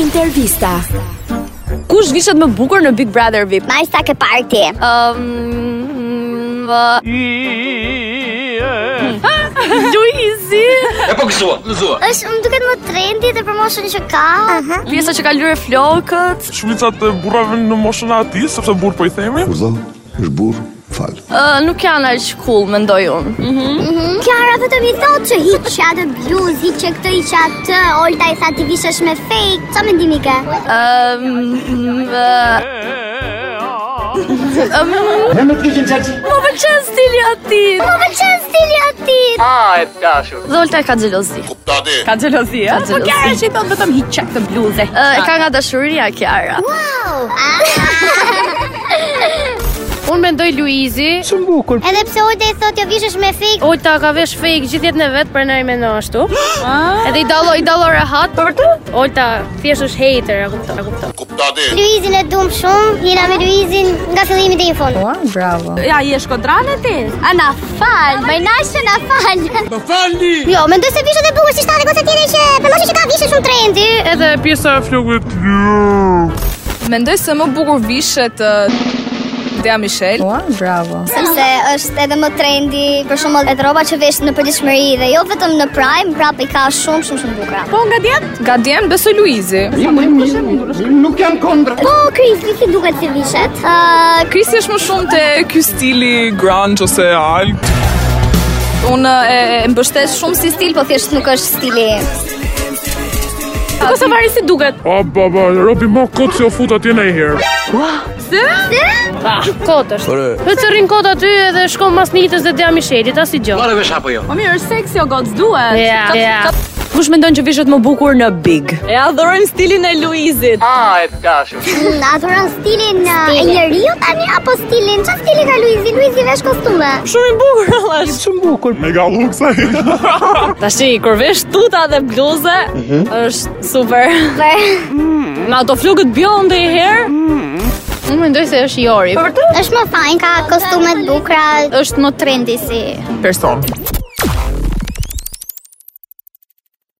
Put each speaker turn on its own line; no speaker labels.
Intervista.
Kush vishet më bukur në Big Brother VIP?
Majsta ke parti.
Ehm,
Um, uh, Luizi.
E po gëzua, gëzua.
Është më duket më trendy dhe për moshën që ka. Aha.
Pjesa që ka lyer flokët.
Shumicat e burrave në moshën e atij, sepse burr po i themi.
Kurdo, është burr, fal.
Uh, nuk janë aq cool, mendoj unë.
Mhm.
Klara Mhm. vetëm i thotë që hiq atë bluz, hiq që këtë hiq atë, Olta i tha ti vishesh me fake. Çfarë mendimi ke?
Um, uh, um,
Ne më të kishin çaçi.
më pëlqen stili ati
Më pëlqen Po, stili aty.
Dholta ka xhelozi
Ka xhelozi, ëh? Po Kiara që i thot vetëm hiq çak të bluze.
uh, E ka nga dashuria Kiara
Wow.
Unë mendoj Luizi,
Shumë bukur.
Edhe pse Olta i thotë jo vishesh me fake,
Olta ka vesh fake gjithë jetën e vet, për në i mendoj ashtu. Edhe i dallo, i dallo rehat. Ah. Për vërtet? Olta thjesht është hater, e kuptoj, e kuptoj.
Luizin e dum shumë, jena me Luizin nga fillimi deri në fund.
Ja, je shkodrane ti?
Ana fal, më nashë na fal. Më falni. Jo, mendoj se vishet e bukur si shtatë goca tjetër që për moshën që ka vishet shumë trendy.
Edhe pjesa e
Flokët.
Mendoj se më bukur vishet uh, Dea Michel.
Sepse është edhe më trendy për shembull edhe rroba që vesh në përditshmëri dhe jo vetëm në prime, prapë i ka shumë shumë shumë bukura.
Po nga djem? Nga djem besoj Luizi.
Nuk jam kontra.
Po, Kris, vi si duket si vishet? Ë,
Krisi është më shumë te ky stili
Grunge ose alt.
unë e, e mbështes shumë si stil, po thjesht nuk është
stili.
Po sa vari si duket?
A baba, robi më kot se o fut atje në herë.
Kot është. Po çrrin kot aty edhe shkon mas nitës dhe dea Michelit, as i gjë.
Marrë vesh apo jo?
Po mirë, është seksi o gocë duhet.
Ja, ja.
Kush mendon që vishet më bukur në Big?
E adhurojmë stilin e Luizit.
Mm, Adhuron stilin uh, e njeriu tani apo stilin? Çfarë stili ka Luizi? Luizi vesh kostume.
Shumë i bukur Allah.
Shumë bukur.
Mega luksa.
Tashi, kur vesh tuta dhe bluze, është super.
Për
Me ato flokët bjonde i herë,
Unë mendoj se është Jori.
është më fajn, ka kostume të bukura, është më trendy si
Person.